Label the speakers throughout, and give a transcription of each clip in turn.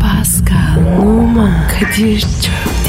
Speaker 1: Pascal, Oman, Kadir çok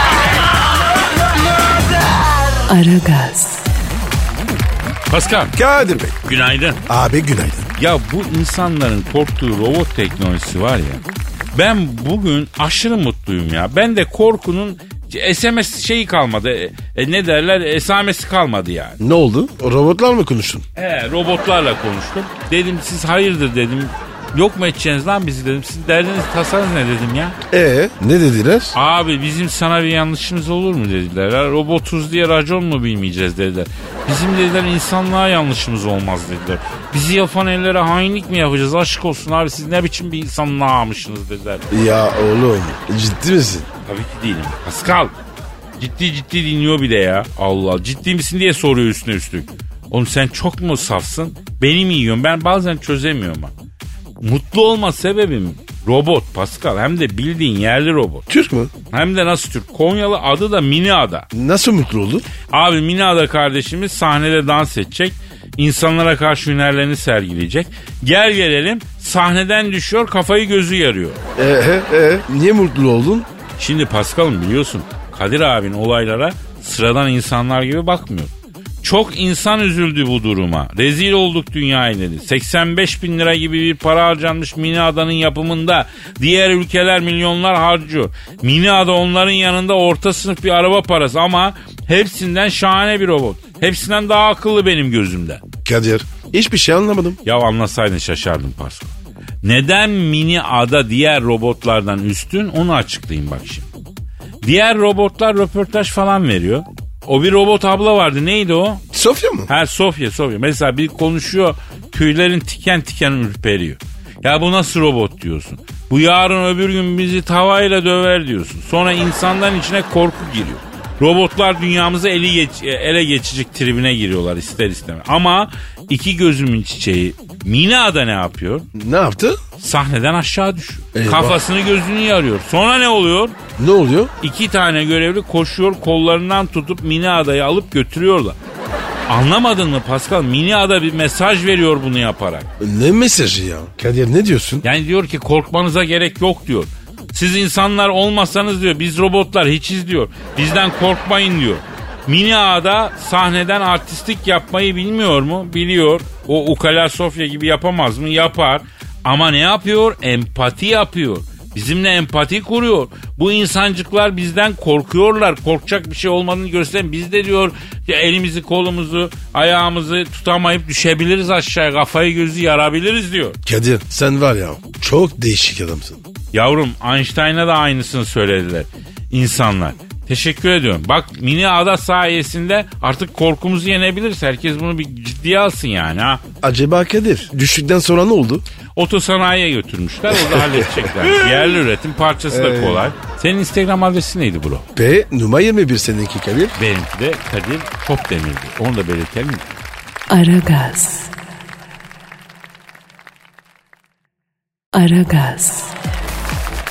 Speaker 1: Aragaz,
Speaker 2: Pascal.
Speaker 3: Kadir Bey.
Speaker 2: Günaydın.
Speaker 3: Abi günaydın.
Speaker 2: Ya bu insanların korktuğu robot teknolojisi var ya. Ben bugün aşırı mutluyum ya. Ben de korkunun SMS şeyi kalmadı. E, e, ne derler? Esamesi kalmadı yani.
Speaker 3: Ne oldu? Robotlar mı konuştun?
Speaker 2: He, robotlarla konuştum. Dedim siz hayırdır dedim. Yok mu edeceğiniz lan bizi dedim. Siz derdiniz tasanız ne dedim ya.
Speaker 3: Ee ne dediler?
Speaker 2: Abi bizim sana bir yanlışımız olur mu dediler. Ha, robotuz diye racon mu bilmeyeceğiz dediler. Bizim dediler insanlığa yanlışımız olmaz dediler. Bizi yapan ellere hainlik mi yapacağız aşk olsun abi siz ne biçim bir insanlığa almışsınız dediler.
Speaker 3: Ya oğlum ciddi misin?
Speaker 2: Tabii ki değilim. Pascal ciddi ciddi dinliyor bir de ya. Allah ciddi misin diye soruyor üstüne üstlük. Oğlum sen çok mu safsın? Beni mi yiyorsun? Ben bazen çözemiyorum ha. Mutlu olma sebebim robot Pascal hem de bildiğin yerli robot.
Speaker 3: Türk mü?
Speaker 2: Hem de nasıl Türk? Konyalı adı da Mini Ada.
Speaker 3: Nasıl mutlu oldun?
Speaker 2: Abi Mini Ada kardeşimiz sahnede dans edecek. insanlara karşı hünerlerini sergileyecek. Gel gelelim sahneden düşüyor kafayı gözü yarıyor.
Speaker 3: Ee, e, e, niye mutlu oldun?
Speaker 2: Şimdi Paskal'ım biliyorsun Kadir abin olaylara sıradan insanlar gibi bakmıyor. Çok insan üzüldü bu duruma. Rezil olduk dünyaya dedi. 85 bin lira gibi bir para harcanmış Mini Adanın yapımında. Diğer ülkeler milyonlar harcıyor. Mini Ada onların yanında orta sınıf bir araba parası ama hepsinden şahane bir robot. Hepsinden daha akıllı benim gözümde.
Speaker 3: Kadir hiçbir şey anlamadım.
Speaker 2: Ya anlasaydın şaşardım Pasko. Neden mini ada diğer robotlardan üstün onu açıklayayım bak şimdi. Diğer robotlar röportaj falan veriyor. O bir robot abla vardı neydi o?
Speaker 3: Sofya mı?
Speaker 2: Her Sofya Sofya. Mesela bir konuşuyor tüylerin tiken tiken ürperiyor. Ya bu nasıl robot diyorsun. Bu yarın öbür gün bizi tavayla döver diyorsun. Sonra insanların içine korku giriyor. Robotlar dünyamızı eli geç, ele geçecek tribine giriyorlar ister istemez. Ama iki gözümün çiçeği Mina da ne yapıyor?
Speaker 3: Ne yaptı?
Speaker 2: Sahneden aşağı düşüyor.
Speaker 3: Eyvah.
Speaker 2: Kafasını gözünü yarıyor. Sonra ne oluyor?
Speaker 3: Ne oluyor?
Speaker 2: İki tane görevli koşuyor kollarından tutup mini adayı alıp götürüyorlar. Anlamadın mı Pascal? Mini ada bir mesaj veriyor bunu yaparak.
Speaker 3: Ne mesajı ya? Kadir ne diyorsun?
Speaker 2: Yani diyor ki korkmanıza gerek yok diyor. Siz insanlar olmasanız diyor biz robotlar hiçiz diyor. Bizden korkmayın diyor. Mini ada sahneden artistlik yapmayı bilmiyor mu? Biliyor. O ukala Sofya gibi yapamaz mı? Yapar. Ama ne yapıyor? Empati yapıyor. Bizimle empati kuruyor. Bu insancıklar bizden korkuyorlar. Korkacak bir şey olmadığını gösteren biz de diyor ya elimizi kolumuzu ayağımızı tutamayıp düşebiliriz aşağıya kafayı gözü yarabiliriz diyor.
Speaker 3: Kadir sen var ya çok değişik adamsın.
Speaker 2: Yavrum Einstein'a da aynısını söylediler insanlar. Teşekkür ediyorum. Bak mini ada sayesinde artık korkumuzu yenebiliriz. Herkes bunu bir ciddiye alsın yani ha.
Speaker 3: Acaba Kadir düştükten sonra ne oldu?
Speaker 2: Otosanayiye götürmüşler o da halledecekler. Yerli üretim parçası da kolay. Senin Instagram adresi neydi bro?
Speaker 3: P numara 21 seninki Kadir.
Speaker 2: Benimki de Kadir Topdemir'di. Onu da belirtelim.
Speaker 1: Aragaz. Aragaz,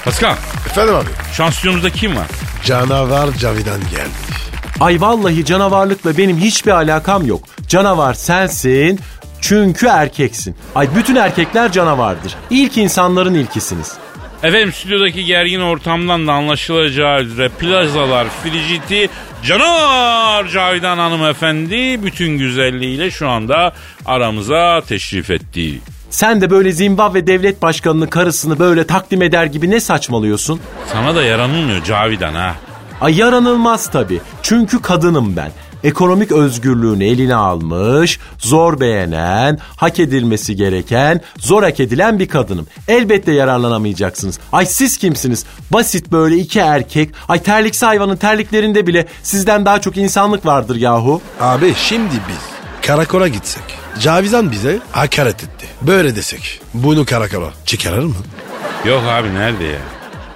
Speaker 2: Paskal
Speaker 3: Efendim abi.
Speaker 2: şansiyonumuzda kim var?
Speaker 3: Canavar Cavidan geldi.
Speaker 4: Ay vallahi canavarlıkla benim hiçbir alakam yok. Canavar sensin çünkü erkeksin. Ay bütün erkekler canavardır. İlk insanların ilkisiniz.
Speaker 2: Efendim stüdyodaki gergin ortamdan da anlaşılacağı üzere plazalar, friciti, canavar Cavidan hanımefendi bütün güzelliğiyle şu anda aramıza teşrif etti.
Speaker 4: Sen de böyle Zimbabwe devlet başkanının karısını böyle takdim eder gibi ne saçmalıyorsun?
Speaker 2: Sana da yaranılmıyor Cavidan ha.
Speaker 4: Ay yaranılmaz tabii. Çünkü kadınım ben. Ekonomik özgürlüğünü eline almış, zor beğenen, hak edilmesi gereken, zor hak edilen bir kadınım. Elbette yararlanamayacaksınız. Ay siz kimsiniz? Basit böyle iki erkek. Ay terliksi hayvanın terliklerinde bile sizden daha çok insanlık vardır yahu.
Speaker 3: Abi şimdi biz karakola gitsek. Cavidan bize hakaret etti. Böyle desek. Bunu karakola çıkarır mı?
Speaker 2: Yok abi nerede ya?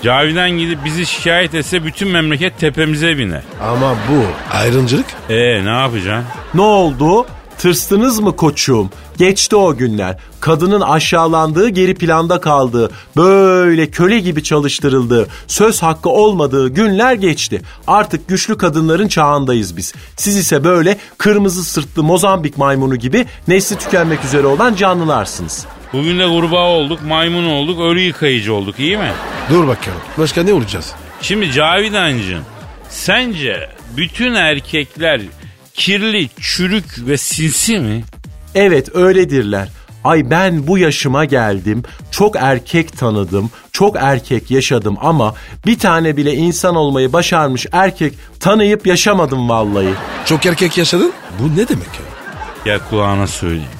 Speaker 2: Cavidan gidip bizi şikayet etse bütün memleket tepemize biner.
Speaker 3: Ama bu ayrımcılık.
Speaker 2: Ee ne yapacaksın?
Speaker 4: Ne oldu? Tırstınız mı koçum? Geçti o günler. Kadının aşağılandığı, geri planda kaldığı, böyle köle gibi çalıştırıldığı, söz hakkı olmadığı günler geçti. Artık güçlü kadınların çağındayız biz. Siz ise böyle kırmızı sırtlı Mozambik maymunu gibi nesli tükenmek üzere olan canlılarsınız.
Speaker 2: Bugün de kurbağa olduk, maymun olduk, ölü yıkayıcı olduk iyi mi?
Speaker 3: Dur bakalım. Başka ne olacağız?
Speaker 2: Şimdi Cavidancığım sence bütün erkekler kirli, çürük ve sinsi mi?
Speaker 4: Evet öyledirler. Ay ben bu yaşıma geldim. Çok erkek tanıdım. Çok erkek yaşadım ama bir tane bile insan olmayı başarmış erkek tanıyıp yaşamadım vallahi.
Speaker 3: Çok erkek yaşadın. Bu ne demek ya?
Speaker 2: Ya kulağına söyleyeyim.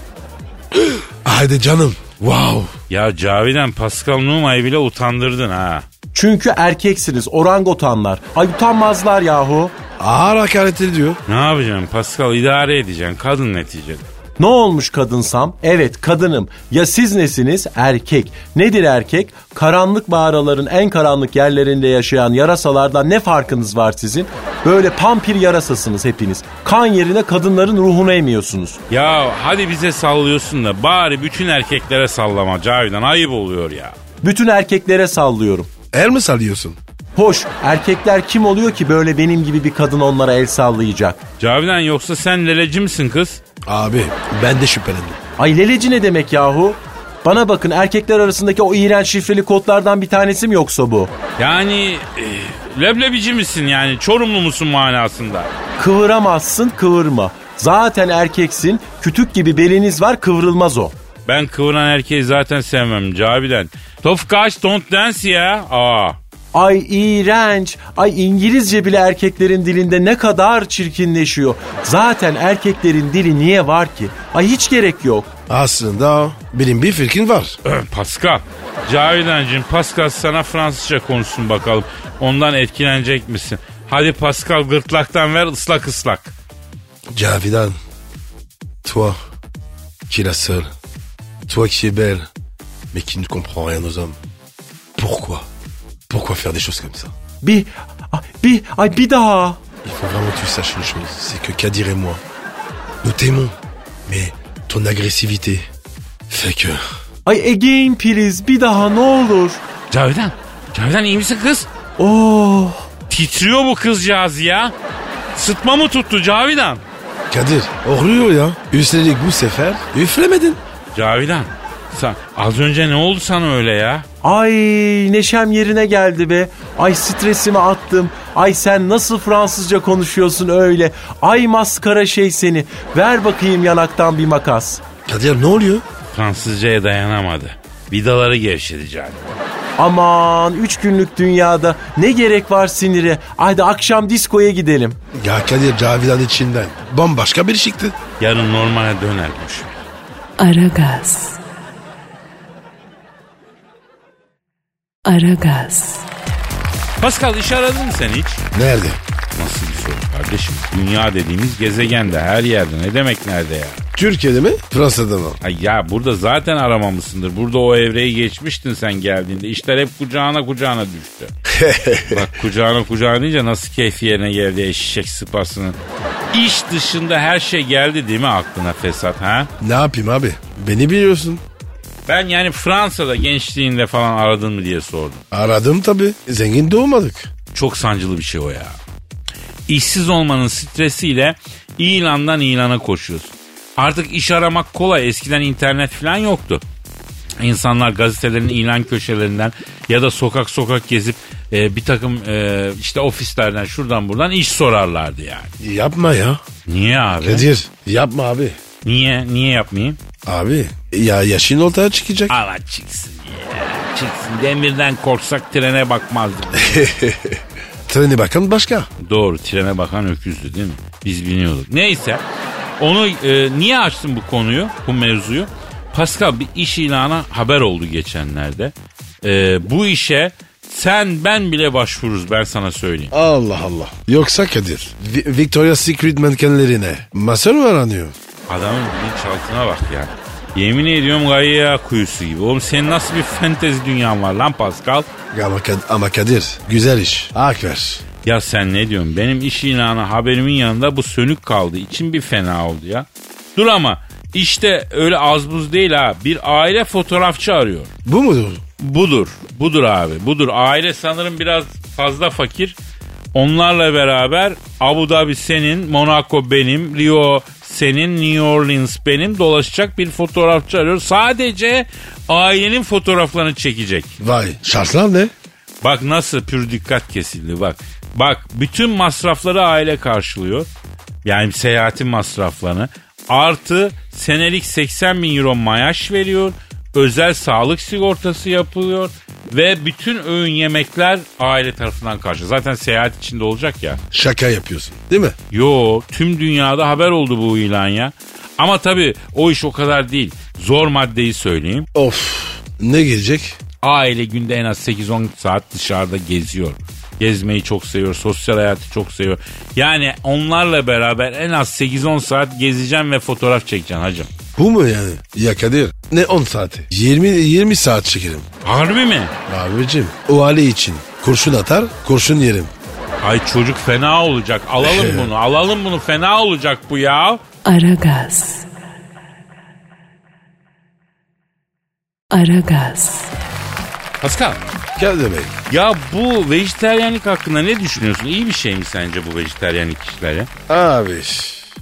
Speaker 3: Haydi canım. Wow.
Speaker 2: Ya Cavidan Pascal Numa'yı bile utandırdın ha.
Speaker 4: Çünkü erkeksiniz orangotanlar. Ay utanmazlar yahu.
Speaker 3: Ağır hakaret ediyor.
Speaker 2: Ne yapacaksın Pascal idare edeceksin kadın neticede.
Speaker 4: Ne olmuş kadınsam? Evet kadınım. Ya siz nesiniz? Erkek. Nedir erkek? Karanlık mağaraların en karanlık yerlerinde yaşayan yarasalardan ne farkınız var sizin? Böyle pampir yarasasınız hepiniz. Kan yerine kadınların ruhunu emiyorsunuz.
Speaker 2: Ya hadi bize sallıyorsun da bari bütün erkeklere sallama Cavidan ayıp oluyor ya.
Speaker 4: Bütün erkeklere sallıyorum.
Speaker 3: Er mi salıyorsun?
Speaker 4: Hoş erkekler kim oluyor ki böyle benim gibi bir kadın onlara el sallayacak?
Speaker 2: Cavidan yoksa sen leleci misin kız?
Speaker 3: Abi ben de şüphelendim.
Speaker 4: Ay leleci ne demek yahu? Bana bakın erkekler arasındaki o iğrenç şifreli kodlardan bir tanesi mi yoksa bu?
Speaker 2: Yani e, leblebici misin yani çorumlu musun manasında?
Speaker 4: Kıvıramazsın kıvırma. Zaten erkeksin kütük gibi beliniz var kıvrılmaz o.
Speaker 2: Ben kıvıran erkeği zaten sevmem Cavidan. Tofkaş don't dance ya. Aa.
Speaker 4: Ay iğrenç. Ay İngilizce bile erkeklerin dilinde ne kadar çirkinleşiyor. Zaten erkeklerin dili niye var ki? Ay hiç gerek yok.
Speaker 3: Aslında benim bir fikrim var.
Speaker 2: öh, Pascal. Cavidan'cığım Pascal sana Fransızca konuşsun bakalım. Ondan etkilenecek misin? Hadi Pascal gırtlaktan ver ıslak ıslak.
Speaker 3: Cavidan. Toi qui es la seule. Toi qui es belle. Mais qui ne comprend rien aux hommes. Pourquoi Pourquoi faire des choses comme ça
Speaker 4: Bir, ay, bir, ay bir daha.
Speaker 3: Il faut vraiment que tu saches une chose, c'est que Kadir et moi, nous t'aimons, mais ton agressivité fait que...
Speaker 4: Ay again please bir daha ne olur.
Speaker 2: Cavidan. Cavidan iyi misin kız?
Speaker 4: Oh.
Speaker 2: Titriyor bu kızcağız ya. Sıtma mı tuttu Cavidan?
Speaker 3: Kadir, hein. oluyor ya. Üstelik bu sefer üflemedin.
Speaker 2: Cavidan. Sen, az önce ne oldu sana öyle ya?
Speaker 4: Ay neşem yerine geldi be. Ay stresimi attım. Ay sen nasıl Fransızca konuşuyorsun öyle. Ay maskara şey seni. Ver bakayım yanaktan bir makas.
Speaker 3: Kadir ne oluyor?
Speaker 2: Fransızcaya dayanamadı. Vidaları gevşedi Cavidan.
Speaker 4: Aman üç günlük dünyada ne gerek var sinire. Haydi akşam diskoya gidelim.
Speaker 3: Ya Kadir Cavidan içinden bambaşka bir çıktı.
Speaker 2: Yarın normale döner boş ver.
Speaker 1: Aragaz. Aragaz.
Speaker 2: Pascal iş aradın mı sen hiç?
Speaker 3: Nerede?
Speaker 2: Nasıl bir soru kardeşim? Dünya dediğimiz gezegende her yerde ne demek nerede ya?
Speaker 3: Türkiye'de mi? Fransa'da mı?
Speaker 2: Ay ya burada zaten aramamışsındır. Burada o evreyi geçmiştin sen geldiğinde. İşler hep kucağına kucağına düştü. Bak kucağına kucağına deyince nasıl keyfi yerine geldi eşek sıpasının. İş dışında her şey geldi değil mi aklına fesat ha?
Speaker 3: Ne yapayım abi? Beni biliyorsun.
Speaker 2: Ben yani Fransa'da gençliğinde falan aradın mı diye sordum.
Speaker 3: Aradım tabii. Zengin doğmadık.
Speaker 2: Çok sancılı bir şey o ya. İşsiz olmanın stresiyle ilandan ilana koşuyorsun. Artık iş aramak kolay. Eskiden internet falan yoktu. İnsanlar gazetelerin ilan köşelerinden ya da sokak sokak gezip e, bir takım e, işte ofislerden şuradan buradan iş sorarlardı yani.
Speaker 3: Yapma ya.
Speaker 2: Niye abi?
Speaker 3: Kadir yapma abi.
Speaker 2: Niye? Niye yapmayayım?
Speaker 3: Abi ya yaşın ortaya çıkacak.
Speaker 2: Ama çıksın ya. Çıksın. Demirden korksak trene bakmazdık.
Speaker 3: Treni bakan başka.
Speaker 2: Doğru trene bakan öküzdü değil mi? Biz biliyorduk. Neyse onu e, niye açtın bu konuyu bu mevzuyu? Pascal bir iş ilana haber oldu geçenlerde. E, bu işe sen ben bile başvururuz ben sana söyleyeyim.
Speaker 3: Allah Allah. Yoksa Kadir, Vi- Victoria's Secret mankenlerine masör mü aranıyor?
Speaker 2: Adamın bilinçaltına bak ya. Yemin ediyorum Gaia kuyusu gibi. Oğlum senin nasıl bir fantezi dünyan var lan Pascal?
Speaker 3: Ama, Kad- ama Kadir güzel iş. Hak ver.
Speaker 2: Ya sen ne diyorsun? Benim iş ilanı haberimin yanında bu sönük kaldı. İçim bir fena oldu ya. Dur ama işte öyle az buz değil ha. Bir aile fotoğrafçı arıyor.
Speaker 3: Bu mudur?
Speaker 2: Budur. Budur abi. Budur. Aile sanırım biraz fazla fakir. Onlarla beraber Abu Dhabi senin, Monaco benim, Rio senin, New Orleans benim dolaşacak bir fotoğrafçı arıyor. Sadece ailenin fotoğraflarını çekecek.
Speaker 3: Vay şartlar ne?
Speaker 2: Bak nasıl pür dikkat kesildi bak. Bak bütün masrafları aile karşılıyor. Yani seyahatin masraflarını. Artı senelik 80 bin euro maaş veriyor. Özel sağlık sigortası yapılıyor. Ve bütün öğün yemekler aile tarafından karşı. Zaten seyahat içinde olacak ya.
Speaker 3: Şaka yapıyorsun değil mi?
Speaker 2: Yo tüm dünyada haber oldu bu ilan ya. Ama tabii o iş o kadar değil. Zor maddeyi söyleyeyim.
Speaker 3: Of ne gelecek?
Speaker 2: aile günde en az 8-10 saat dışarıda geziyor. Gezmeyi çok seviyor, sosyal hayatı çok seviyor. Yani onlarla beraber en az 8-10 saat gezeceğim ve fotoğraf çekeceğim hacım.
Speaker 3: Bu mu yani? Ya Kadir ne 10 saati? 20, 20 saat çekerim.
Speaker 2: Harbi mi?
Speaker 3: Abicim o aile için kurşun atar kurşun yerim.
Speaker 2: Ay çocuk fena olacak. Alalım bunu, alalım bunu. Fena olacak bu ya.
Speaker 1: Aragaz. Aragaz.
Speaker 2: Pascal,
Speaker 3: Kadir Bey
Speaker 2: ya bu vejeteryanlık hakkında ne düşünüyorsun? İyi bir şey mi sence bu vejeteryanlık işleri?
Speaker 3: abi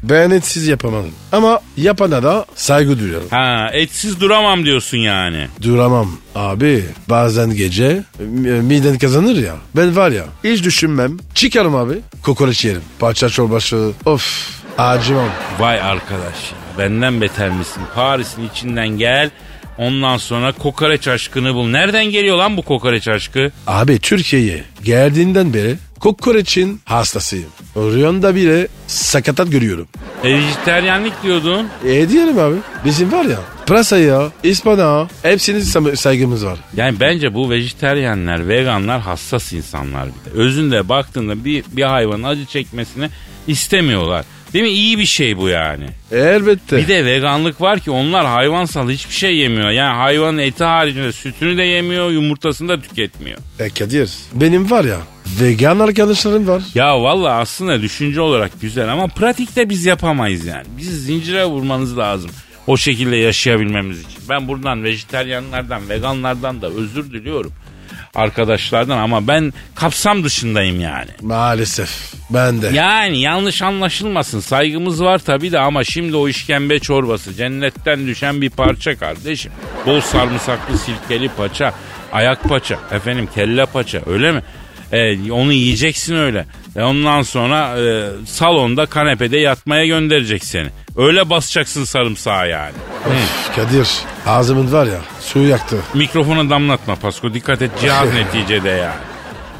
Speaker 3: ben etsiz yapamam. Ama yapana da saygı duyuyorum.
Speaker 2: Ha, etsiz duramam diyorsun yani.
Speaker 3: Duramam abi bazen gece e, miden kazanır ya. Ben var ya hiç düşünmem. Çıkarım abi kokoreç yerim. Parça çorbası of acımam.
Speaker 2: Vay arkadaş ya, benden beter misin? Paris'in içinden gel. Ondan sonra kokoreç aşkını bul. Nereden geliyor lan bu kokoreç aşkı?
Speaker 3: Abi Türkiye'ye geldiğinden beri kokoreçin hastasıyım. Rüyamda bile sakatat görüyorum.
Speaker 2: E, vejeteryanlık diyordun.
Speaker 3: E diyelim abi. Bizim var ya pırasa ya, ıspanağı hepsinin sam- saygımız var.
Speaker 2: Yani bence bu vejeteryanlar, veganlar hassas insanlar bir de. Özünde baktığında bir, bir hayvanın acı çekmesini istemiyorlar. Değil mi? İyi bir şey bu yani.
Speaker 3: Elbette.
Speaker 2: Bir de veganlık var ki onlar hayvansal hiçbir şey yemiyor. Yani hayvanın eti haricinde sütünü de yemiyor, yumurtasını da tüketmiyor.
Speaker 3: E Kadir benim var ya vegan arkadaşlarım var.
Speaker 2: Ya valla aslında düşünce olarak güzel ama pratikte biz yapamayız yani. Bizi zincire vurmanız lazım. O şekilde yaşayabilmemiz için. Ben buradan vejeteryanlardan, veganlardan da özür diliyorum. Arkadaşlardan ama ben kapsam dışındayım yani.
Speaker 3: Maalesef ben de.
Speaker 2: Yani yanlış anlaşılmasın. Saygımız var tabii de ama şimdi o işkembe çorbası cennetten düşen bir parça kardeşim. Bol sarımsaklı sirkeli paça, ayak paça, efendim kelle paça öyle mi? E, onu yiyeceksin öyle. E, ondan sonra e, salonda kanepede yatmaya gönderecek seni. Öyle basacaksın sarımsağı yani.
Speaker 3: Of, Kadir ağzımın var ya suyu yaktı.
Speaker 2: Mikrofona damlatma Pasko. Dikkat et cihaz neticede yani.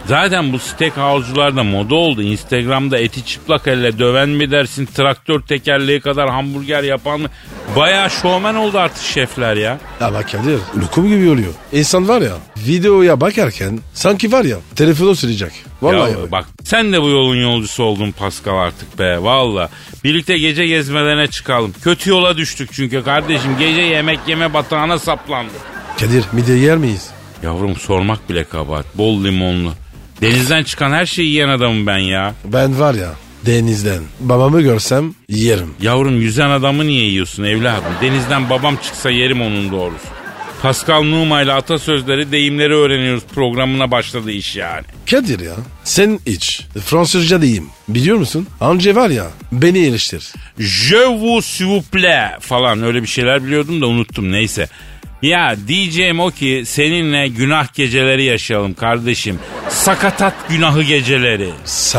Speaker 2: Zaten bu steakhouse'cular da moda oldu. Instagram'da eti çıplak elle döven mi dersin, traktör tekerleği kadar hamburger yapan mı? Bayağı şovmen oldu artık şefler ya.
Speaker 3: Ama Kadir lokum gibi oluyor. İnsan var ya videoya bakarken sanki var ya telefonu sürecek. Vallahi
Speaker 2: ya,
Speaker 3: bak.
Speaker 2: bak sen de bu yolun yolcusu oldun Pascal artık be valla. Birlikte gece gezmelerine çıkalım. Kötü yola düştük çünkü kardeşim gece yemek yeme batağına saplandık.
Speaker 3: Kadir midye yer miyiz?
Speaker 2: Yavrum sormak bile kabahat. Bol limonlu. Denizden çıkan her şeyi yiyen adamım ben ya.
Speaker 3: Ben var ya denizden babamı görsem yerim.
Speaker 2: Yavrum yüzen adamı niye yiyorsun evladım? Denizden babam çıksa yerim onun doğrusu. Pascal Numa ile atasözleri, deyimleri öğreniyoruz programına başladı iş yani.
Speaker 3: Kadir ya sen iç. Fransızca diyeyim. Biliyor musun? Anca var ya beni eleştir.
Speaker 2: Je vous s'il vous plaît falan öyle bir şeyler biliyordum da unuttum neyse. Ya diyeceğim o ki seninle günah geceleri yaşayalım kardeşim. Sakatat günahı geceleri.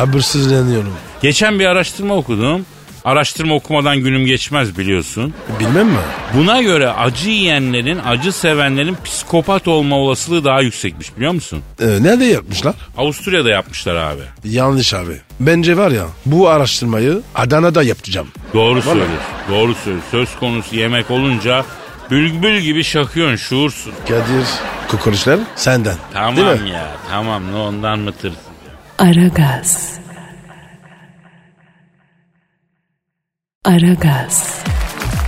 Speaker 3: Sabırsızlanıyorum.
Speaker 2: Geçen bir araştırma okudum. Araştırma okumadan günüm geçmez biliyorsun.
Speaker 3: Bilmem mi?
Speaker 2: Buna göre acı yiyenlerin, acı sevenlerin psikopat olma olasılığı daha yüksekmiş biliyor musun?
Speaker 3: Ee, nerede yapmışlar?
Speaker 2: Avusturya'da yapmışlar abi.
Speaker 3: Yanlış abi. Bence var ya bu araştırmayı Adana'da yapacağım.
Speaker 2: Doğru söylüyorsun. Doğru söylüyorsun. Söz konusu yemek olunca bülbül gibi şakıyorsun şuursuz.
Speaker 3: Kadir kokoreçler senden. Değil mi?
Speaker 2: Tamam ya tamam ne ondan mı tırsın?
Speaker 1: Aragaz. Aragaz.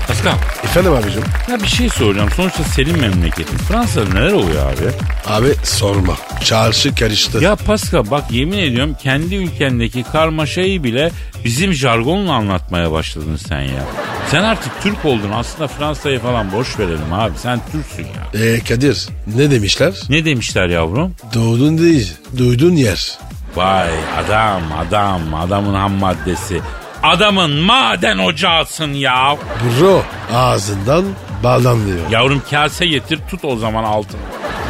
Speaker 2: Pascal.
Speaker 3: Efendim abicim.
Speaker 2: Ya bir şey soracağım. Sonuçta senin memleketin. Fransa'da neler oluyor abi?
Speaker 3: Abi sorma. Çarşı karıştı.
Speaker 2: Ya Pascal bak yemin ediyorum kendi ülkendeki karmaşayı bile bizim jargonla anlatmaya başladın sen ya. Sen artık Türk oldun. Aslında Fransa'yı falan boş verelim abi. Sen Türksün ya.
Speaker 3: Ee, Kadir ne demişler?
Speaker 2: Ne demişler yavrum?
Speaker 3: Doğdun değil, duydun yer.
Speaker 2: Vay adam adam adamın ham maddesi. Adamın maden ocağısın ya.
Speaker 3: Bro ağzından baldan diyor.
Speaker 2: Yavrum kase getir tut o zaman altını.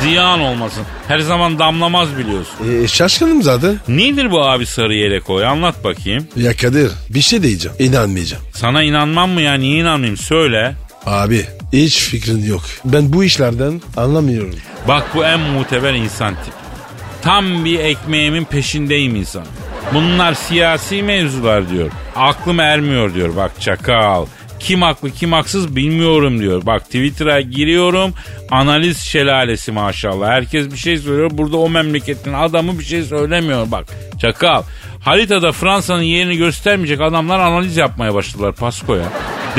Speaker 2: Ziyan olmasın. Her zaman damlamaz biliyorsun.
Speaker 3: Ee, şaşkınım zaten.
Speaker 2: Nedir bu abi sarı yelek oy anlat bakayım.
Speaker 3: Ya Kadir bir şey diyeceğim. İnanmayacağım.
Speaker 2: Sana inanmam mı yani niye inanmayayım söyle.
Speaker 3: Abi hiç fikrin yok. Ben bu işlerden anlamıyorum.
Speaker 2: Bak bu en muteber insan tipi. Tam bir ekmeğimin peşindeyim insan. Bunlar siyasi mevzular diyor. Aklım ermiyor diyor bak çakal. Kim haklı kim haksız bilmiyorum diyor. Bak Twitter'a giriyorum analiz şelalesi maşallah. Herkes bir şey söylüyor. Burada o memleketin adamı bir şey söylemiyor bak çakal. Haritada Fransa'nın yerini göstermeyecek adamlar analiz yapmaya başladılar Pasko'ya.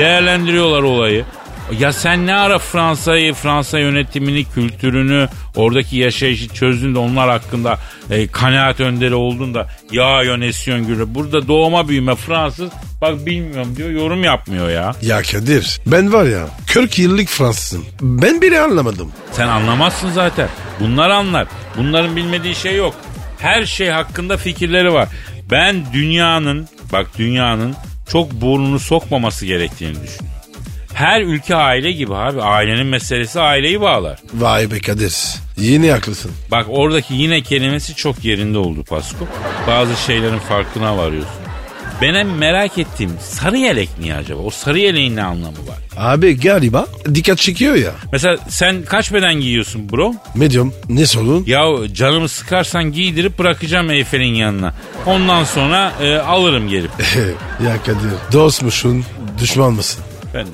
Speaker 2: Değerlendiriyorlar olayı. Ya sen ne ara Fransa'yı, Fransa yönetimini, kültürünü, oradaki yaşayışı çözdün de onlar hakkında e, kanaat önderi oldun da ya yönesiyon gülü. Burada doğma büyüme Fransız bak bilmiyorum diyor yorum yapmıyor ya.
Speaker 3: Ya Kadir ben var ya 40 yıllık Fransızım. Ben bile anlamadım.
Speaker 2: Sen anlamazsın zaten. Bunlar anlar. Bunların bilmediği şey yok. Her şey hakkında fikirleri var. Ben dünyanın, bak dünyanın çok burnunu sokmaması gerektiğini düşünüyorum. Her ülke aile gibi abi. Ailenin meselesi aileyi bağlar.
Speaker 3: Vay be Kadir yine haklısın.
Speaker 2: Bak oradaki yine kelimesi çok yerinde oldu Pasko. Bazı şeylerin farkına varıyorsun. Benim merak ettiğim sarı yelek niye acaba? O sarı yeleğin ne anlamı var?
Speaker 3: Abi galiba dikkat çekiyor ya.
Speaker 2: Mesela sen kaç beden giyiyorsun bro?
Speaker 3: Medium ne sorun?
Speaker 2: Ya canımı sıkarsan giydirip bırakacağım Eyfel'in yanına. Ondan sonra e, alırım gelip.
Speaker 3: ya Kadir dost musun düşman mısın?
Speaker 2: ben de.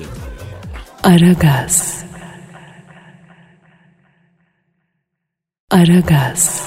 Speaker 1: Aragaz. Aragaz.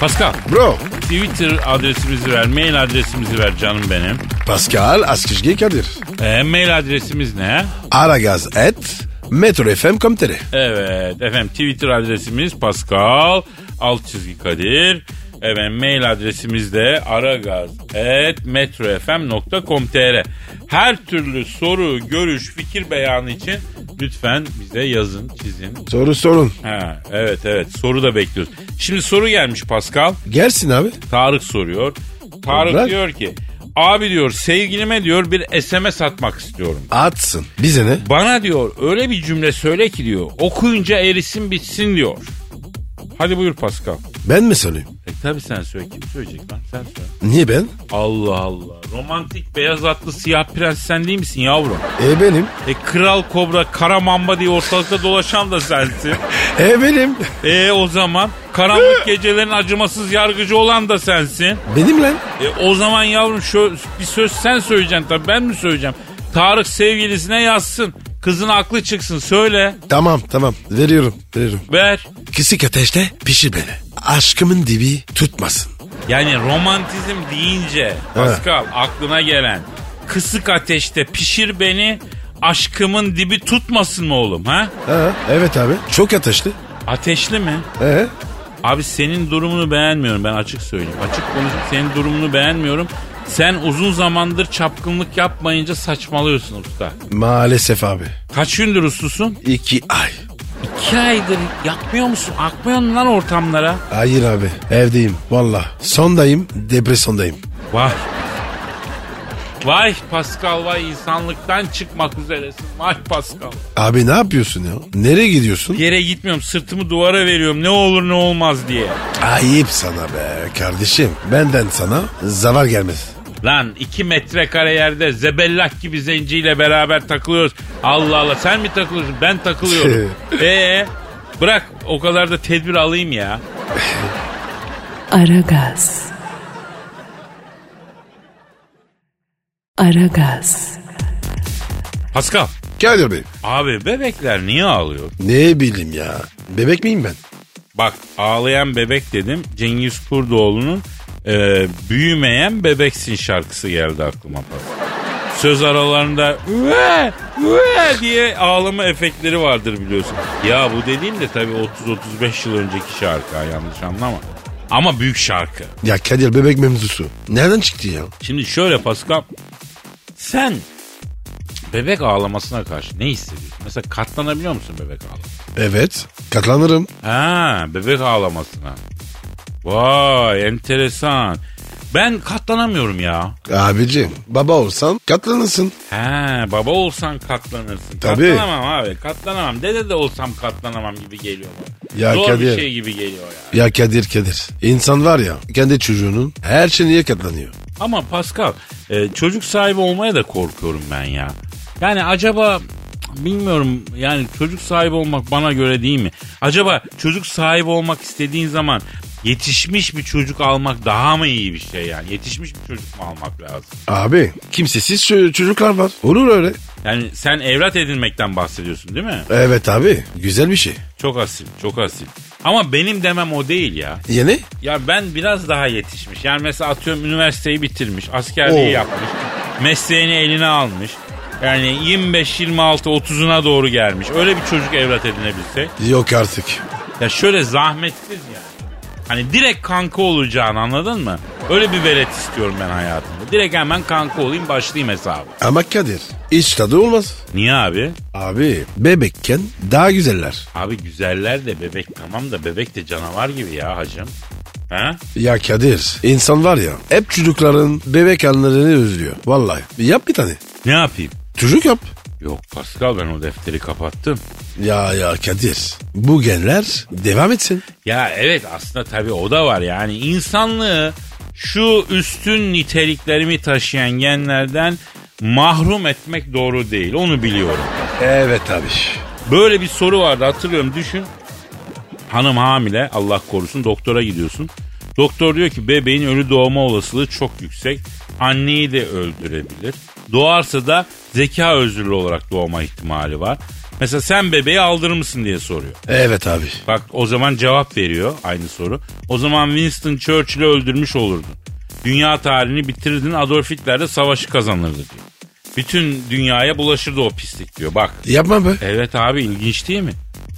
Speaker 2: Pascal
Speaker 3: Bro
Speaker 2: Twitter adresimizi ver, mail adresimizi ver canım benim.
Speaker 3: Pascal Askizgi Kadir.
Speaker 2: E, mail adresimiz ne?
Speaker 3: Aragaz et metrofm.com.tr
Speaker 2: Evet efendim Twitter adresimiz Pascal alt çizgi Kadir. Efendim mail adresimiz de aragaz.metrofm.com.tr Her türlü soru, görüş, fikir beyanı için lütfen bize yazın, çizin.
Speaker 3: Soru sorun.
Speaker 2: Ha, evet evet soru da bekliyoruz. Şimdi soru gelmiş Pascal.
Speaker 3: Gelsin abi.
Speaker 2: Tarık soruyor. Tarık
Speaker 3: Bırak.
Speaker 2: diyor ki abi diyor sevgilime diyor bir SMS atmak istiyorum.
Speaker 3: Atsın. Bize ne?
Speaker 2: Bana diyor öyle bir cümle söyle ki diyor okuyunca erisin bitsin diyor. Hadi buyur Pascal.
Speaker 3: Ben mi söyleyeyim?
Speaker 2: E tabi sen söyle kim söyleyecek lan sen söyle.
Speaker 3: Niye ben?
Speaker 2: Allah Allah. Romantik beyaz atlı siyah prens sen değil misin yavrum?
Speaker 3: E benim.
Speaker 2: E kral kobra kara mamba diye ortalıkta dolaşan da sensin.
Speaker 3: E benim.
Speaker 2: E o zaman karanlık gecelerin acımasız yargıcı olan da sensin.
Speaker 3: Benim lan.
Speaker 2: E o zaman yavrum şu bir söz sen söyleyeceksin tabi ben mi söyleyeceğim? Tarık sevgilisine yazsın. Kızın aklı çıksın söyle.
Speaker 3: Tamam tamam. Veriyorum. Veriyorum.
Speaker 2: Ver.
Speaker 3: Kısık ateşte pişir beni. Aşkımın dibi tutmasın.
Speaker 2: Yani romantizm deyince Pascal aklına gelen kısık ateşte pişir beni aşkımın dibi tutmasın mı oğlum ha?
Speaker 3: Ha, evet abi. Çok ateşli.
Speaker 2: Ateşli mi?
Speaker 3: Ee?
Speaker 2: Abi senin durumunu beğenmiyorum ben açık söyleyeyim. Açık konuşayım senin durumunu beğenmiyorum. Sen uzun zamandır çapkınlık yapmayınca saçmalıyorsun usta.
Speaker 3: Maalesef abi.
Speaker 2: Kaç gündür uslusun?
Speaker 3: İki ay.
Speaker 2: İki aydır yapmıyor musun? Akmıyor musun lan ortamlara?
Speaker 3: Hayır abi. Evdeyim. Valla. Sondayım. Depresyondayım.
Speaker 2: Vay. Vay Pascal vay insanlıktan çıkmak üzeresin. Vay Pascal.
Speaker 3: Abi ne yapıyorsun ya? Nereye gidiyorsun?
Speaker 2: Bir Yere gitmiyorum sırtımı duvara veriyorum ne olur ne olmaz diye.
Speaker 3: Ayıp sana be kardeşim. Benden sana zarar gelmez.
Speaker 2: Lan iki metrekare yerde zebellak gibi zenciyle beraber takılıyoruz. Allah Allah sen mi takılıyorsun ben takılıyorum. Ee bırak o kadar da tedbir alayım ya.
Speaker 1: Aragaz. Aragaz.
Speaker 2: Pascal
Speaker 3: Kadir Bey.
Speaker 2: abi bebekler niye ağlıyor?
Speaker 3: Ne bileyim ya. Bebek miyim ben?
Speaker 2: Bak ağlayan bebek dedim Cengiz Kurdoğlu'nun e, büyümeyen bebeksin şarkısı geldi aklıma. Pascal. Söz aralarında "Üe, üe" diye ağlama efektleri vardır biliyorsun. Ya bu dediğim de tabii 30-35 yıl önceki şarkı ha, yanlış anlama. Ama büyük şarkı.
Speaker 3: Ya Kadir bebek mevzusu. Nereden çıktı ya?
Speaker 2: Şimdi şöyle Pascal. Sen bebek ağlamasına karşı ne hissediyorsun? Mesela katlanabiliyor musun bebek ağlamasına?
Speaker 3: Evet. Katlanırım.
Speaker 2: Ha bebek ağlamasına. Vay enteresan. Ben katlanamıyorum ya.
Speaker 3: Abicim baba olsan katlanırsın.
Speaker 2: He baba olsan katlanırsın.
Speaker 3: Tabii.
Speaker 2: Katlanamam abi katlanamam. Dede de olsam katlanamam gibi geliyor bana.
Speaker 3: Ya
Speaker 2: Zor bir
Speaker 3: Kadir.
Speaker 2: şey gibi geliyor ya.
Speaker 3: Ya Kadir Kadir. İnsan var ya kendi çocuğunun her şeyine katlanıyor.
Speaker 2: Ama Pascal e, çocuk sahibi olmaya da korkuyorum ben ya. Yani acaba bilmiyorum yani çocuk sahibi olmak bana göre değil mi? Acaba çocuk sahibi olmak istediğin zaman yetişmiş bir çocuk almak daha mı iyi bir şey yani? Yetişmiş bir çocuk mu almak lazım?
Speaker 3: Abi kimsesiz ço- çocuklar var. Olur öyle.
Speaker 2: Yani sen evlat edinmekten bahsediyorsun değil mi?
Speaker 3: Evet abi güzel bir şey.
Speaker 2: Çok asil, çok asil. Ama benim demem o değil ya.
Speaker 3: Yeni?
Speaker 2: Ya ben biraz daha yetişmiş. Yani mesela atıyorum üniversiteyi bitirmiş, askerliği
Speaker 3: Oo.
Speaker 2: yapmış, mesleğini eline almış. Yani 25, 26, 30'una doğru gelmiş. Öyle bir çocuk evlat edinebilsek.
Speaker 3: Yok artık.
Speaker 2: Ya şöyle zahmetsiz yani. Hani direkt kanka olacağını anladın mı? Öyle bir velet istiyorum ben hayatımda. Direkt hemen kanka olayım başlayayım hesabı.
Speaker 3: Ama Kadir hiç tadı olmaz.
Speaker 2: Niye abi?
Speaker 3: Abi bebekken daha güzeller.
Speaker 2: Abi güzeller de bebek tamam da bebek de canavar gibi ya hacım. Ha?
Speaker 3: Ya Kadir insan var ya hep çocukların bebek anlarını özlüyor. Vallahi yap bir tane.
Speaker 2: Ne yapayım?
Speaker 3: Çocuk yap.
Speaker 2: Yok Pascal ben o defteri kapattım.
Speaker 3: Ya ya Kadir bu genler devam etsin.
Speaker 2: Ya evet aslında tabii o da var yani insanlığı şu üstün niteliklerimi taşıyan genlerden mahrum etmek doğru değil onu biliyorum.
Speaker 3: Evet abi.
Speaker 2: Böyle bir soru vardı hatırlıyorum düşün. Hanım hamile Allah korusun doktora gidiyorsun. Doktor diyor ki bebeğin ölü doğma olasılığı çok yüksek. Anneyi de öldürebilir. Doğarsa da zeka özürlü olarak doğma ihtimali var. Mesela sen bebeği aldırır mısın diye soruyor.
Speaker 3: Evet abi.
Speaker 2: Bak o zaman cevap veriyor aynı soru. O zaman Winston Churchill'i öldürmüş olurdun. Dünya tarihini bitirirdin Adolf Hitler de savaşı kazanırdı diyor. Bütün dünyaya bulaşırdı o pislik diyor bak.
Speaker 3: Yapma be.
Speaker 2: Evet abi ilginç değil mi?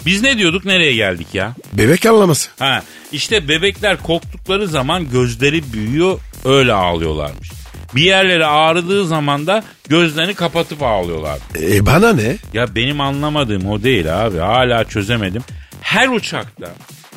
Speaker 2: Biz ne diyorduk nereye geldik ya?
Speaker 3: Bebek anlaması.
Speaker 2: Ha işte bebekler korktukları zaman gözleri büyüyor öyle ağlıyorlarmış. Bir yerleri ağrıdığı zaman da gözlerini kapatıp ağlıyorlar.
Speaker 3: E bana ne?
Speaker 2: Ya benim anlamadığım o değil abi. Hala çözemedim. Her uçakta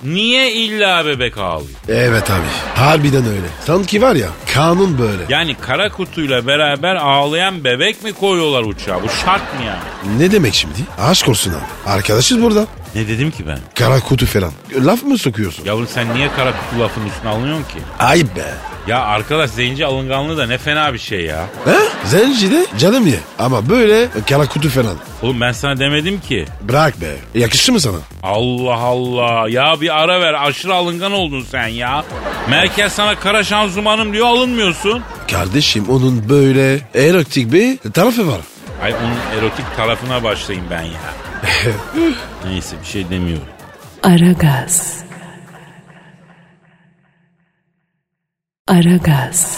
Speaker 2: niye illa bebek ağlıyor?
Speaker 3: Evet abi. Harbiden öyle. Sanki var ya kanun böyle.
Speaker 2: Yani kara kutuyla beraber ağlayan bebek mi koyuyorlar uçağa? Bu şart mı yani?
Speaker 3: Ne demek şimdi? Aşk olsun abi. Arkadaşız burada.
Speaker 2: Ne dedim ki ben?
Speaker 3: Kara kutu falan. Laf mı sokuyorsun?
Speaker 2: Yavrum sen niye kara kutu lafının üstüne alınıyorsun ki?
Speaker 3: Ayıp be.
Speaker 2: Ya arkadaş zenci alınganlığı da ne fena bir şey ya.
Speaker 3: He? Zenci de canım ye. Ama böyle kara kutu falan.
Speaker 2: Oğlum ben sana demedim ki.
Speaker 3: Bırak be. Yakıştı mı sana?
Speaker 2: Allah Allah. Ya bir ara ver aşırı alıngan oldun sen ya. Merkez sana kara şanzumanım diyor alınmıyorsun.
Speaker 3: Kardeşim onun böyle erotik bir tarafı var.
Speaker 2: Ay onun erotik tarafına başlayayım ben ya. Neyse bir şey demiyorum.
Speaker 1: Aragaz. Aragaz.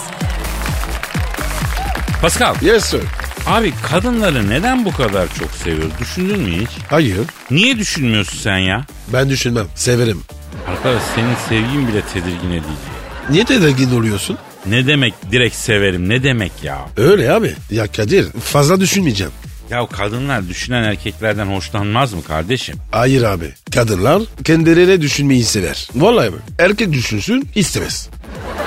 Speaker 2: Pascal
Speaker 3: Yes sir.
Speaker 2: abi kadınları neden bu kadar çok seviyor? Düşündün mü hiç?
Speaker 3: Hayır.
Speaker 2: Niye düşünmüyorsun sen ya?
Speaker 3: Ben düşünmem. Severim.
Speaker 2: Arkadaş senin sevgin bile tedirgin edici.
Speaker 3: Niye tedirgin oluyorsun?
Speaker 2: Ne demek direkt severim ne demek ya?
Speaker 3: Öyle abi. Ya Kadir fazla düşünmeyeceğim.
Speaker 2: Ya kadınlar düşünen erkeklerden hoşlanmaz mı kardeşim?
Speaker 3: Hayır abi. Kadınlar kendilerine düşünmeyi sever. Vallahi mi? Erkek düşünsün istemez.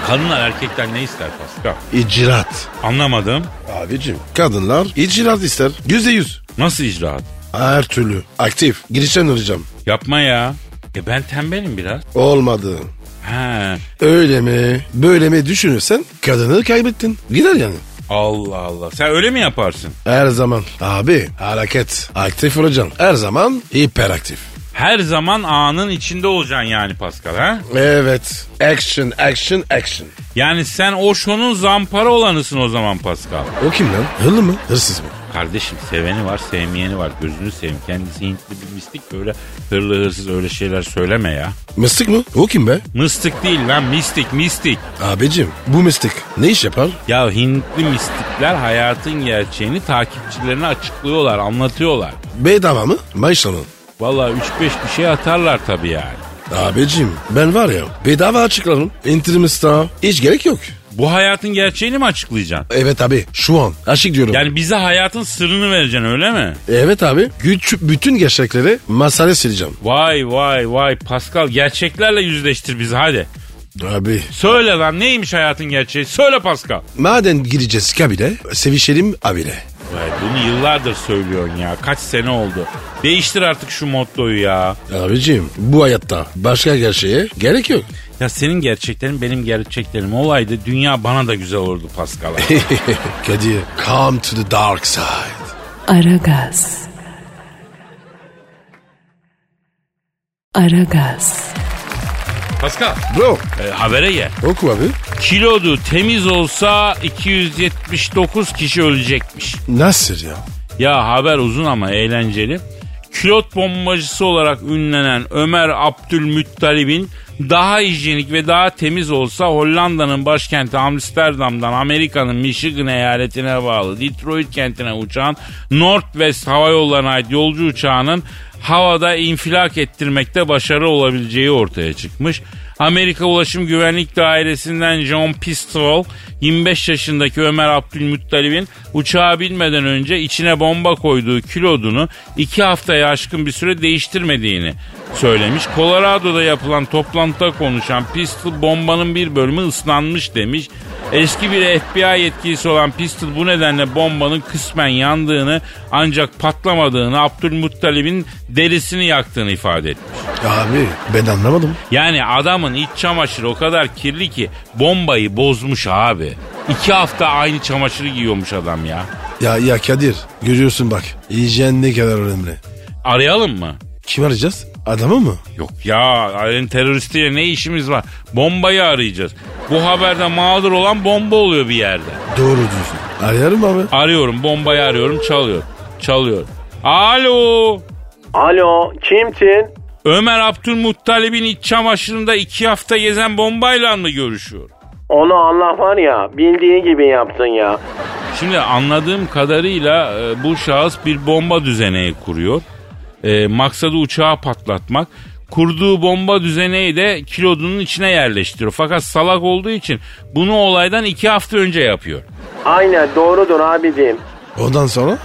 Speaker 2: Kadınlar erkekten ne ister Pascal?
Speaker 3: İcraat.
Speaker 2: Anlamadım.
Speaker 3: Abicim kadınlar icraat ister. Yüzde yüz.
Speaker 2: Nasıl icraat?
Speaker 3: Her türlü. Aktif. Girişten olacağım.
Speaker 2: Yapma ya. E ben tembelim biraz.
Speaker 3: Olmadı.
Speaker 2: He.
Speaker 3: Öyle mi? Böyle mi düşünürsen kadını kaybettin. Gider yani.
Speaker 2: Allah Allah. Sen öyle mi yaparsın?
Speaker 3: Her zaman. Abi hareket. Aktif olacaksın. Her zaman hiperaktif.
Speaker 2: Her zaman anın içinde olacaksın yani Pascal ha?
Speaker 3: Evet. Action, action, action.
Speaker 2: Yani sen Osho'nun zampara olanısın o zaman Pascal.
Speaker 3: O kim lan? Hırlı mı? Hırsız mı?
Speaker 2: Kardeşim seveni var sevmeyeni var. Gözünü seveyim. Kendisi Hintli bir mistik böyle hırlı hırsız öyle şeyler söyleme ya.
Speaker 3: Mıstık mı? O kim be?
Speaker 2: Mıstık değil lan mistik mistik.
Speaker 3: Abicim bu mıstık ne iş yapar?
Speaker 2: Ya Hintli mistikler hayatın gerçeğini takipçilerine açıklıyorlar anlatıyorlar.
Speaker 3: Bedava mı? Maşallah.
Speaker 2: Valla 3-5 bir şey atarlar tabii yani.
Speaker 3: Abicim ben var ya bedava açıklarım. İntirimista hiç gerek yok.
Speaker 2: Bu hayatın gerçeğini mi açıklayacaksın?
Speaker 3: Evet abi şu an aşık diyorum.
Speaker 2: Yani bize hayatın sırrını vereceksin öyle mi?
Speaker 3: Evet abi güç bütün gerçekleri masaya sileceğim.
Speaker 2: Vay vay vay Pascal gerçeklerle yüzleştir bizi hadi.
Speaker 3: Abi
Speaker 2: Söyle lan neymiş hayatın gerçeği? Söyle Pascal.
Speaker 3: madem gireceğiz kabile sevişelim abile.
Speaker 2: Vay bunu yıllardır söylüyorsun ya. Kaç sene oldu. Değiştir artık şu mottoyu ya.
Speaker 3: Abicim bu hayatta başka gerçeğe gerek yok.
Speaker 2: Ya senin gerçeklerin benim gerçeklerim olaydı dünya bana da güzel olurdu Pascal. abi.
Speaker 3: Kadir come to the dark side.
Speaker 1: Aragaz. Aragaz.
Speaker 2: Pascal
Speaker 3: Bro
Speaker 2: e, habere gel.
Speaker 3: oku abi.
Speaker 2: Kilodu temiz olsa 279 kişi ölecekmiş.
Speaker 3: Nasıl ya?
Speaker 2: Ya haber uzun ama eğlenceli. Külot bombacısı olarak ünlenen Ömer Abdülmuttalib'in daha hijyenik ve daha temiz olsa Hollanda'nın başkenti Amsterdam'dan Amerika'nın Michigan eyaletine bağlı Detroit kentine uçan Northwest Hava Yolları'na ait yolcu uçağının havada infilak ettirmekte başarı olabileceği ortaya çıkmış. Amerika Ulaşım Güvenlik Dairesi'nden John Pistol 25 yaşındaki Ömer Abdülmuttalib'in uçağa binmeden önce içine bomba koyduğu kilodunu 2 haftaya aşkın bir süre değiştirmediğini söylemiş. Colorado'da yapılan toplantıda konuşan Pistol bombanın bir bölümü ıslanmış demiş. Eski bir FBI yetkilisi olan Pistol bu nedenle bombanın kısmen yandığını ancak patlamadığını Abdülmuttalib'in derisini yaktığını ifade etmiş.
Speaker 3: Abi ben anlamadım.
Speaker 2: Yani adamın iç çamaşırı o kadar kirli ki bombayı bozmuş abi. İki hafta aynı çamaşırı giyiyormuş adam ya.
Speaker 3: Ya ya Kadir görüyorsun bak hijyen ne kadar önemli.
Speaker 2: Arayalım mı?
Speaker 3: Kim arayacağız? Adamı mı?
Speaker 2: Yok ya ayın teröristiyle ne işimiz var? Bombayı arayacağız. Bu haberde mağdur olan bomba oluyor bir yerde.
Speaker 3: Doğru diyorsun. Arayalım abi.
Speaker 2: Arıyorum bombayı arıyorum çalıyor. Çalıyor. Alo.
Speaker 5: Alo kimsin?
Speaker 2: Ömer Abdülmuttalib'in iç çamaşırında iki hafta gezen bombayla mı görüşüyor?
Speaker 5: Onu Allah var ya bildiği gibi yaptın ya.
Speaker 2: Şimdi anladığım kadarıyla e, bu şahıs bir bomba düzeneği kuruyor. E, maksadı uçağı patlatmak. Kurduğu bomba düzeneği de kilodunun içine yerleştiriyor. Fakat salak olduğu için bunu olaydan iki hafta önce yapıyor.
Speaker 5: Aynen doğrudur abicim.
Speaker 3: Ondan sonra?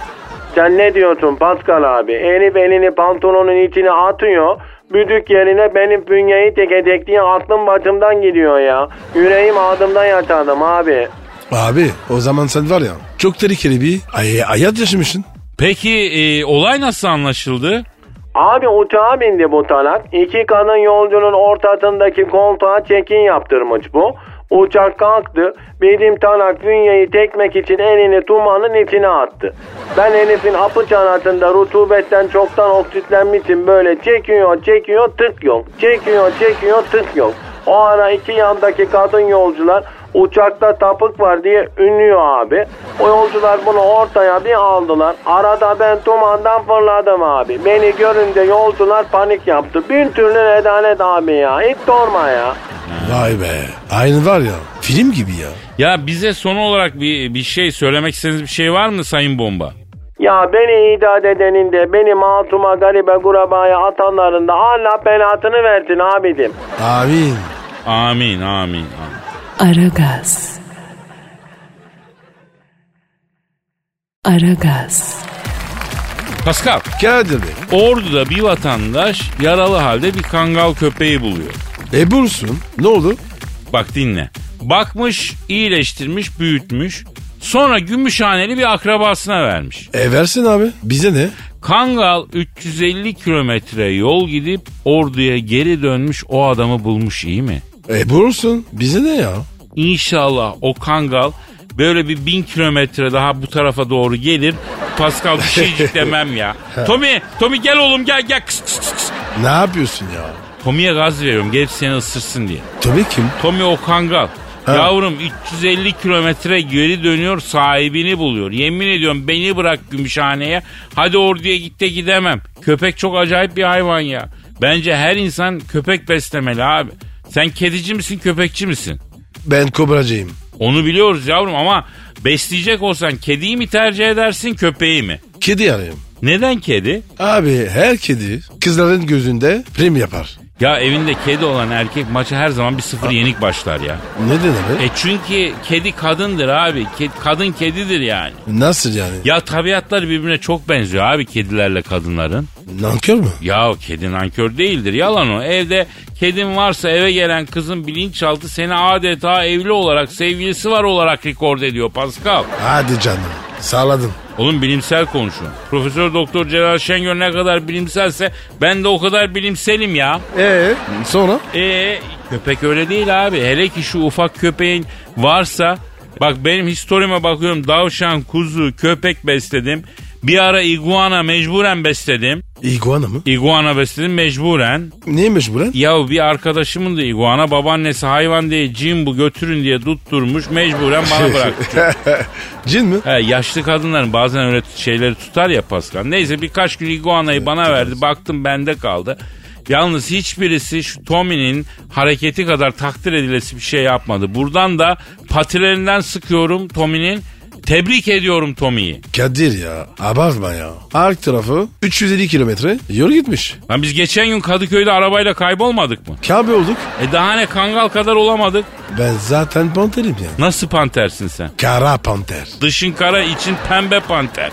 Speaker 5: Sen ne diyorsun Pascal abi? Herif elini pantolonun içine atıyor. Büdük yerine benim bünyeyi tek diye aklım başımdan gidiyor ya. Yüreğim ağzımdan yaşadım abi.
Speaker 3: Abi o zaman sen var ya çok tehlikeli bir ay hayat yaşamışsın.
Speaker 2: Peki e, olay nasıl anlaşıldı?
Speaker 5: Abi uçağa bindi bu talat. İki kadın yolcunun ortasındaki koltuğa çekin yaptırmış bu. Uçak kalktı. Benim tanak bünyeyi tekmek için elini tumanın içine attı. Ben herifin apı çanatında rutubetten çoktan oksitlenmişim böyle çekiyor çekiyor tık yok. Çekiyor çekiyor tık yok. O ara iki yandaki kadın yolcular uçakta tapık var diye ünlüyor abi. O yolcular bunu ortaya bir aldılar. Arada ben dumandan fırladım abi. Beni görünce yolcular panik yaptı. Bir türlü nedanet abi ya. Hiç durma ya.
Speaker 3: Vay be. Aynı var ya film gibi ya.
Speaker 2: Ya bize son olarak bir, bir şey söylemek istediğiniz bir şey var mı Sayın Bomba?
Speaker 5: Ya beni idat edenin de beni masuma garibe kurabaya atanların da Allah belasını versin abidim.
Speaker 3: Amin.
Speaker 2: Amin amin. amin.
Speaker 1: Aragaz. Aragaz.
Speaker 2: Pascal,
Speaker 3: Kadir Bey.
Speaker 2: Ordu'da bir vatandaş yaralı halde bir kangal köpeği buluyor.
Speaker 3: E bulsun. Ne oldu?
Speaker 2: Bak dinle. Bakmış, iyileştirmiş, büyütmüş. Sonra Gümüşhaneli bir akrabasına vermiş.
Speaker 3: E versin abi. Bize ne?
Speaker 2: Kangal 350 kilometre yol gidip orduya geri dönmüş o adamı bulmuş iyi mi?
Speaker 3: E bulursun. Bize ne ya?
Speaker 2: İnşallah o kangal böyle bir bin kilometre daha bu tarafa doğru gelir. Pascal bir şeycik demem ya. Tommy, Tommy gel oğlum gel gel. Kıs, kıs, kıs.
Speaker 3: Ne yapıyorsun ya?
Speaker 2: Tommy'ye gaz veriyorum gelip seni ısırsın diye.
Speaker 3: Tabii kim?
Speaker 2: Tommy o kangal. Yavrum 350 kilometre geri dönüyor sahibini buluyor. Yemin ediyorum beni bırak Gümüşhane'ye. Hadi orduya git de gidemem. Köpek çok acayip bir hayvan ya. Bence her insan köpek beslemeli abi. Sen kedici misin köpekçi misin?
Speaker 3: Ben kobracıyım.
Speaker 2: Onu biliyoruz yavrum ama besleyecek olsan kediyi mi tercih edersin köpeği mi?
Speaker 3: Kedi arıyorum.
Speaker 2: Neden kedi?
Speaker 3: Abi her kedi kızların gözünde prim yapar.
Speaker 2: Ya evinde kedi olan erkek maça her zaman bir sıfır yenik başlar ya.
Speaker 3: Neden abi?
Speaker 2: E çünkü kedi kadındır abi. Ke- kadın kedidir yani.
Speaker 3: Nasıl yani?
Speaker 2: Ya tabiatları birbirine çok benziyor abi kedilerle kadınların.
Speaker 3: Nankör mü?
Speaker 2: Ya kedi nankör değildir yalan o. Evde kedin varsa eve gelen kızın bilinçaltı seni adeta evli olarak sevgilisi var olarak rekord ediyor Pascal.
Speaker 3: Hadi canım. Sağladın.
Speaker 2: Oğlum bilimsel konuşun. Profesör Doktor Celal Şengör ne kadar bilimselse ben de o kadar bilimselim ya.
Speaker 3: Ee sonra?
Speaker 2: Ee köpek öyle değil abi. Hele ki şu ufak köpeğin varsa bak benim historime bakıyorum davşan, kuzu, köpek besledim. Bir ara iguana mecburen besledim.
Speaker 3: İguana mı?
Speaker 2: Iguana besledim mecburen.
Speaker 3: Neymiş bu lan?
Speaker 2: Yahu bir arkadaşımın da iguana babaannesi hayvan diye cin bu götürün diye tutturmuş mecburen bana bıraktı.
Speaker 3: Cin mi?
Speaker 2: He, yaşlı kadınların bazen öyle t- şeyleri tutar ya Pascal. Neyse birkaç gün iguanayı bana verdi. Baktım bende kaldı. Yalnız hiçbirisi şu Tommy'nin hareketi kadar takdir edilesi bir şey yapmadı. Buradan da patilerinden sıkıyorum Tommy'nin. Tebrik ediyorum Tommy'yi.
Speaker 3: Kadir ya abartma ya. Ark tarafı 350 kilometre yol gitmiş.
Speaker 2: Lan biz geçen gün Kadıköy'de arabayla kaybolmadık mı?
Speaker 3: Kabe olduk.
Speaker 2: E daha ne kangal kadar olamadık.
Speaker 3: Ben zaten panterim ya.
Speaker 2: Nasıl pantersin sen?
Speaker 3: Kara panter.
Speaker 2: Dışın kara için pembe panter.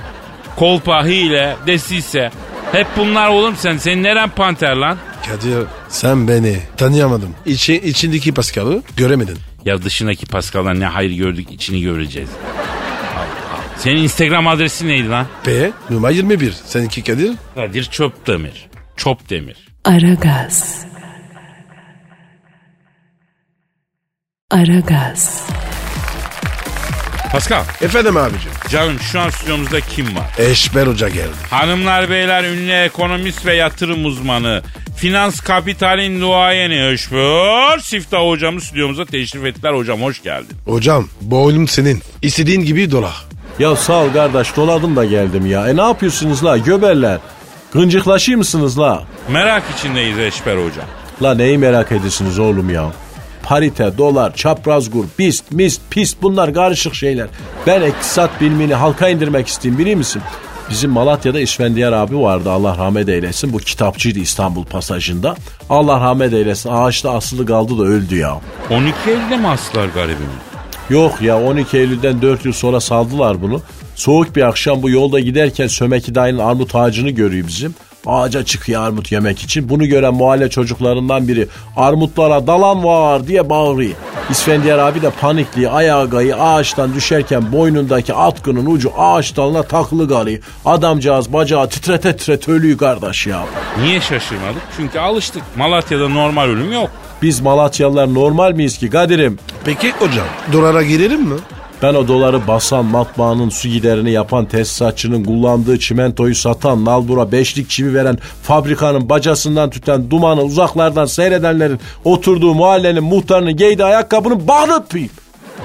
Speaker 2: Kolpa, hile, desise. Hep bunlar oğlum sen. Senin neren panter lan?
Speaker 3: Kadir sen beni tanıyamadın. İçi, içindeki Pascal'ı göremedin.
Speaker 2: Ya dışındaki Pascal'dan ne hayır gördük içini göreceğiz. Allah. Senin Instagram adresi neydi lan?
Speaker 3: P numara 21. Seninki Kadir?
Speaker 2: Kadir Çöpdemir. Çopdemir.
Speaker 1: Aragaz. Aragaz.
Speaker 2: Pascal
Speaker 3: Efendim abicim.
Speaker 2: canım şu an stüdyomuzda kim var?
Speaker 3: Eşber Hoca geldi.
Speaker 2: Hanımlar beyler ünlü ekonomist ve yatırım uzmanı. Finans kapitalin duayeni Öşbür Siftah hocamız stüdyomuza teşrif ettiler. Hocam hoş geldin.
Speaker 3: Hocam boynum senin. İstediğin gibi dola.
Speaker 4: Ya sağ ol kardeş doladım da geldim ya. E ne yapıyorsunuz la göberler? Gıncıklaşıyor musunuz la?
Speaker 2: Merak içindeyiz Eşber hocam.
Speaker 4: La neyi merak ediyorsunuz oğlum ya? Parite, dolar, çapraz gur, bist, mist, pist bunlar karışık şeyler. Ben iktisat bilimini halka indirmek isteyeyim biliyor musun? Bizim Malatya'da İsfendiyar abi vardı Allah rahmet eylesin. Bu kitapçıydı İstanbul pasajında. Allah rahmet eylesin ağaçta asılı kaldı da öldü ya.
Speaker 2: 12 Eylül'de mi astılar garibimi?
Speaker 4: Yok ya 12 Eylül'den 4 yıl sonra saldılar bunu. Soğuk bir akşam bu yolda giderken Sömeki dayının armut ağacını görüyor bizim. Ağaca çıkıyor armut yemek için. Bunu gören mahalle çocuklarından biri armutlara dalan var diye bağırıyor. İsfendiyar abi de panikli ayağa gayı ağaçtan düşerken boynundaki atkının ucu ağaç dalına takılı kalıyor. Adamcağız bacağı titrete titrete ölüyor kardeş ya.
Speaker 2: Niye şaşırmadık? Çünkü alıştık. Malatya'da normal ölüm yok.
Speaker 4: Biz Malatyalılar normal miyiz ki Kadir'im?
Speaker 3: Peki hocam dolara girelim mi?
Speaker 4: Ben o doları basan, matbaanın su giderini yapan, tesisatçının kullandığı çimentoyu satan, nalbura beşlik çivi veren, fabrikanın bacasından tüten dumanı uzaklardan seyredenlerin oturduğu mahallenin muhtarının giydiği ayakkabının bağını öpeyim.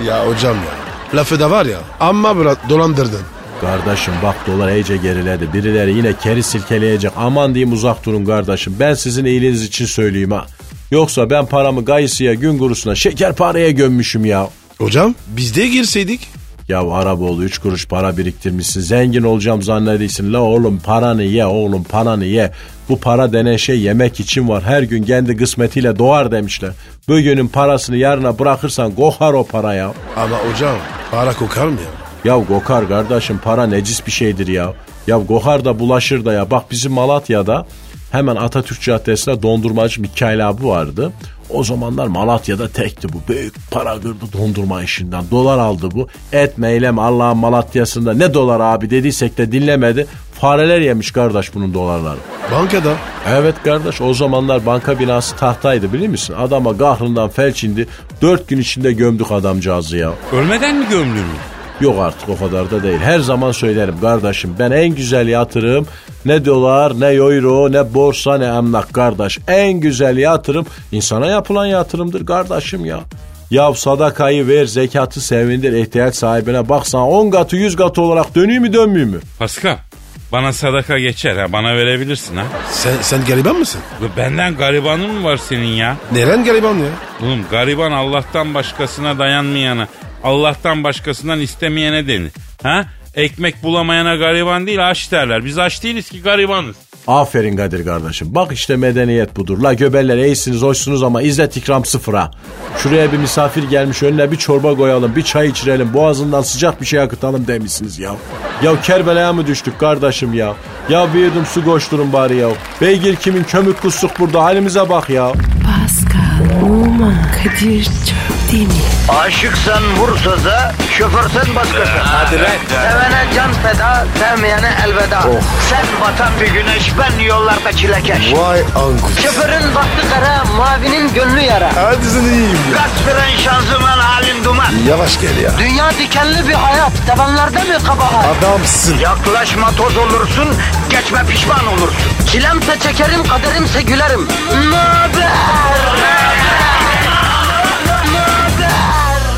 Speaker 3: Ya hocam ya. Lafı da var ya amma bırak dolandırdın.
Speaker 4: Kardeşim bak dolar iyice geriledi. Birileri yine keri silkeleyecek. Aman diyeyim uzak durun kardeşim. Ben sizin iyiliğiniz için söyleyeyim ha. Yoksa ben paramı gayısıya, gün kurusuna, şeker paraya gömmüşüm ya.
Speaker 3: Hocam biz de girseydik.
Speaker 4: Ya Araboğlu 3 kuruş para biriktirmişsin. Zengin olacağım zannediyorsun. La oğlum paranı ye oğlum paranı ye. Bu para denen şey yemek için var. Her gün kendi kısmetiyle doğar demişler. Bugünün parasını yarına bırakırsan kokar o para ya.
Speaker 3: Ama hocam para kokar mı ya?
Speaker 4: Ya kokar kardeşim para necis bir şeydir ya. Ya kokar da bulaşır da ya. Bak bizim Malatya'da hemen Atatürk Caddesi'nde dondurmacı Mikail abi vardı. O zamanlar Malatya'da tekti bu. Büyük para kırdı dondurma işinden. Dolar aldı bu. Et meylem Allah'ın Malatya'sında ne dolar abi dediysek de dinlemedi. Fareler yemiş kardeş bunun dolarları.
Speaker 3: Bankada.
Speaker 4: Evet kardeş o zamanlar banka binası tahtaydı biliyor musun? Adama kahrından felç indi. Dört gün içinde gömdük adamcağızı ya.
Speaker 2: Ölmeden mi gömdün mü?
Speaker 4: Yok artık o kadar da değil. Her zaman söylerim kardeşim ben en güzel yatırım ne dolar ne euro ne borsa ne emlak kardeş. En güzel yatırım insana yapılan yatırımdır kardeşim ya. Ya sadakayı ver, zekatı sevindir, ihtiyaç sahibine baksana 10 katı 100 katı olarak dönüyor mu dönmüyor mu?
Speaker 2: Paska bana sadaka geçer ha bana verebilirsin ha.
Speaker 3: Sen, sen gariban mısın?
Speaker 2: Ve Benden garibanın mı var senin ya?
Speaker 3: Neren gariban ya?
Speaker 2: Oğlum gariban Allah'tan başkasına dayanmayana, Allah'tan başkasından istemeyene denir. Ha? Ekmek bulamayana gariban değil aç derler. Biz aç değiliz ki garibanız.
Speaker 4: Aferin Kadir kardeşim. Bak işte medeniyet budur. La göbeller iyisiniz hoşsunuz ama izzet ikram sıfıra. Şuraya bir misafir gelmiş önüne bir çorba koyalım bir çay içirelim boğazından sıcak bir şey akıtalım demişsiniz ya. Ya Kerbela'ya mı düştük kardeşim ya? Ya bir yudum su koşturun bari ya. Beygir kimin kömük kusluk burada halimize bak ya.
Speaker 1: Pascal, Oman, Kadir çok değil mi?
Speaker 6: Aşıksan vursa da, şoförsen başkasın. Hadi
Speaker 3: lan.
Speaker 6: Sevene can feda, sevmeyene elveda. Sen batan bir güneş, ben yollarda çilekeş.
Speaker 3: Vay anku.
Speaker 6: Şoförün baktı kara, mavinin gönlü yara.
Speaker 3: Hadi sen iyiyim ya.
Speaker 6: Kasperen şanzıman halin duman.
Speaker 3: Yavaş gel ya.
Speaker 6: Dünya dikenli bir hayat, sevenlerde mi kabahar?
Speaker 3: Adamsın.
Speaker 6: Yaklaşma toz olursun, geçme pişman olursun. Çilemse çekerim, kaderimse gülerim. Möber!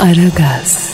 Speaker 1: Aragaz.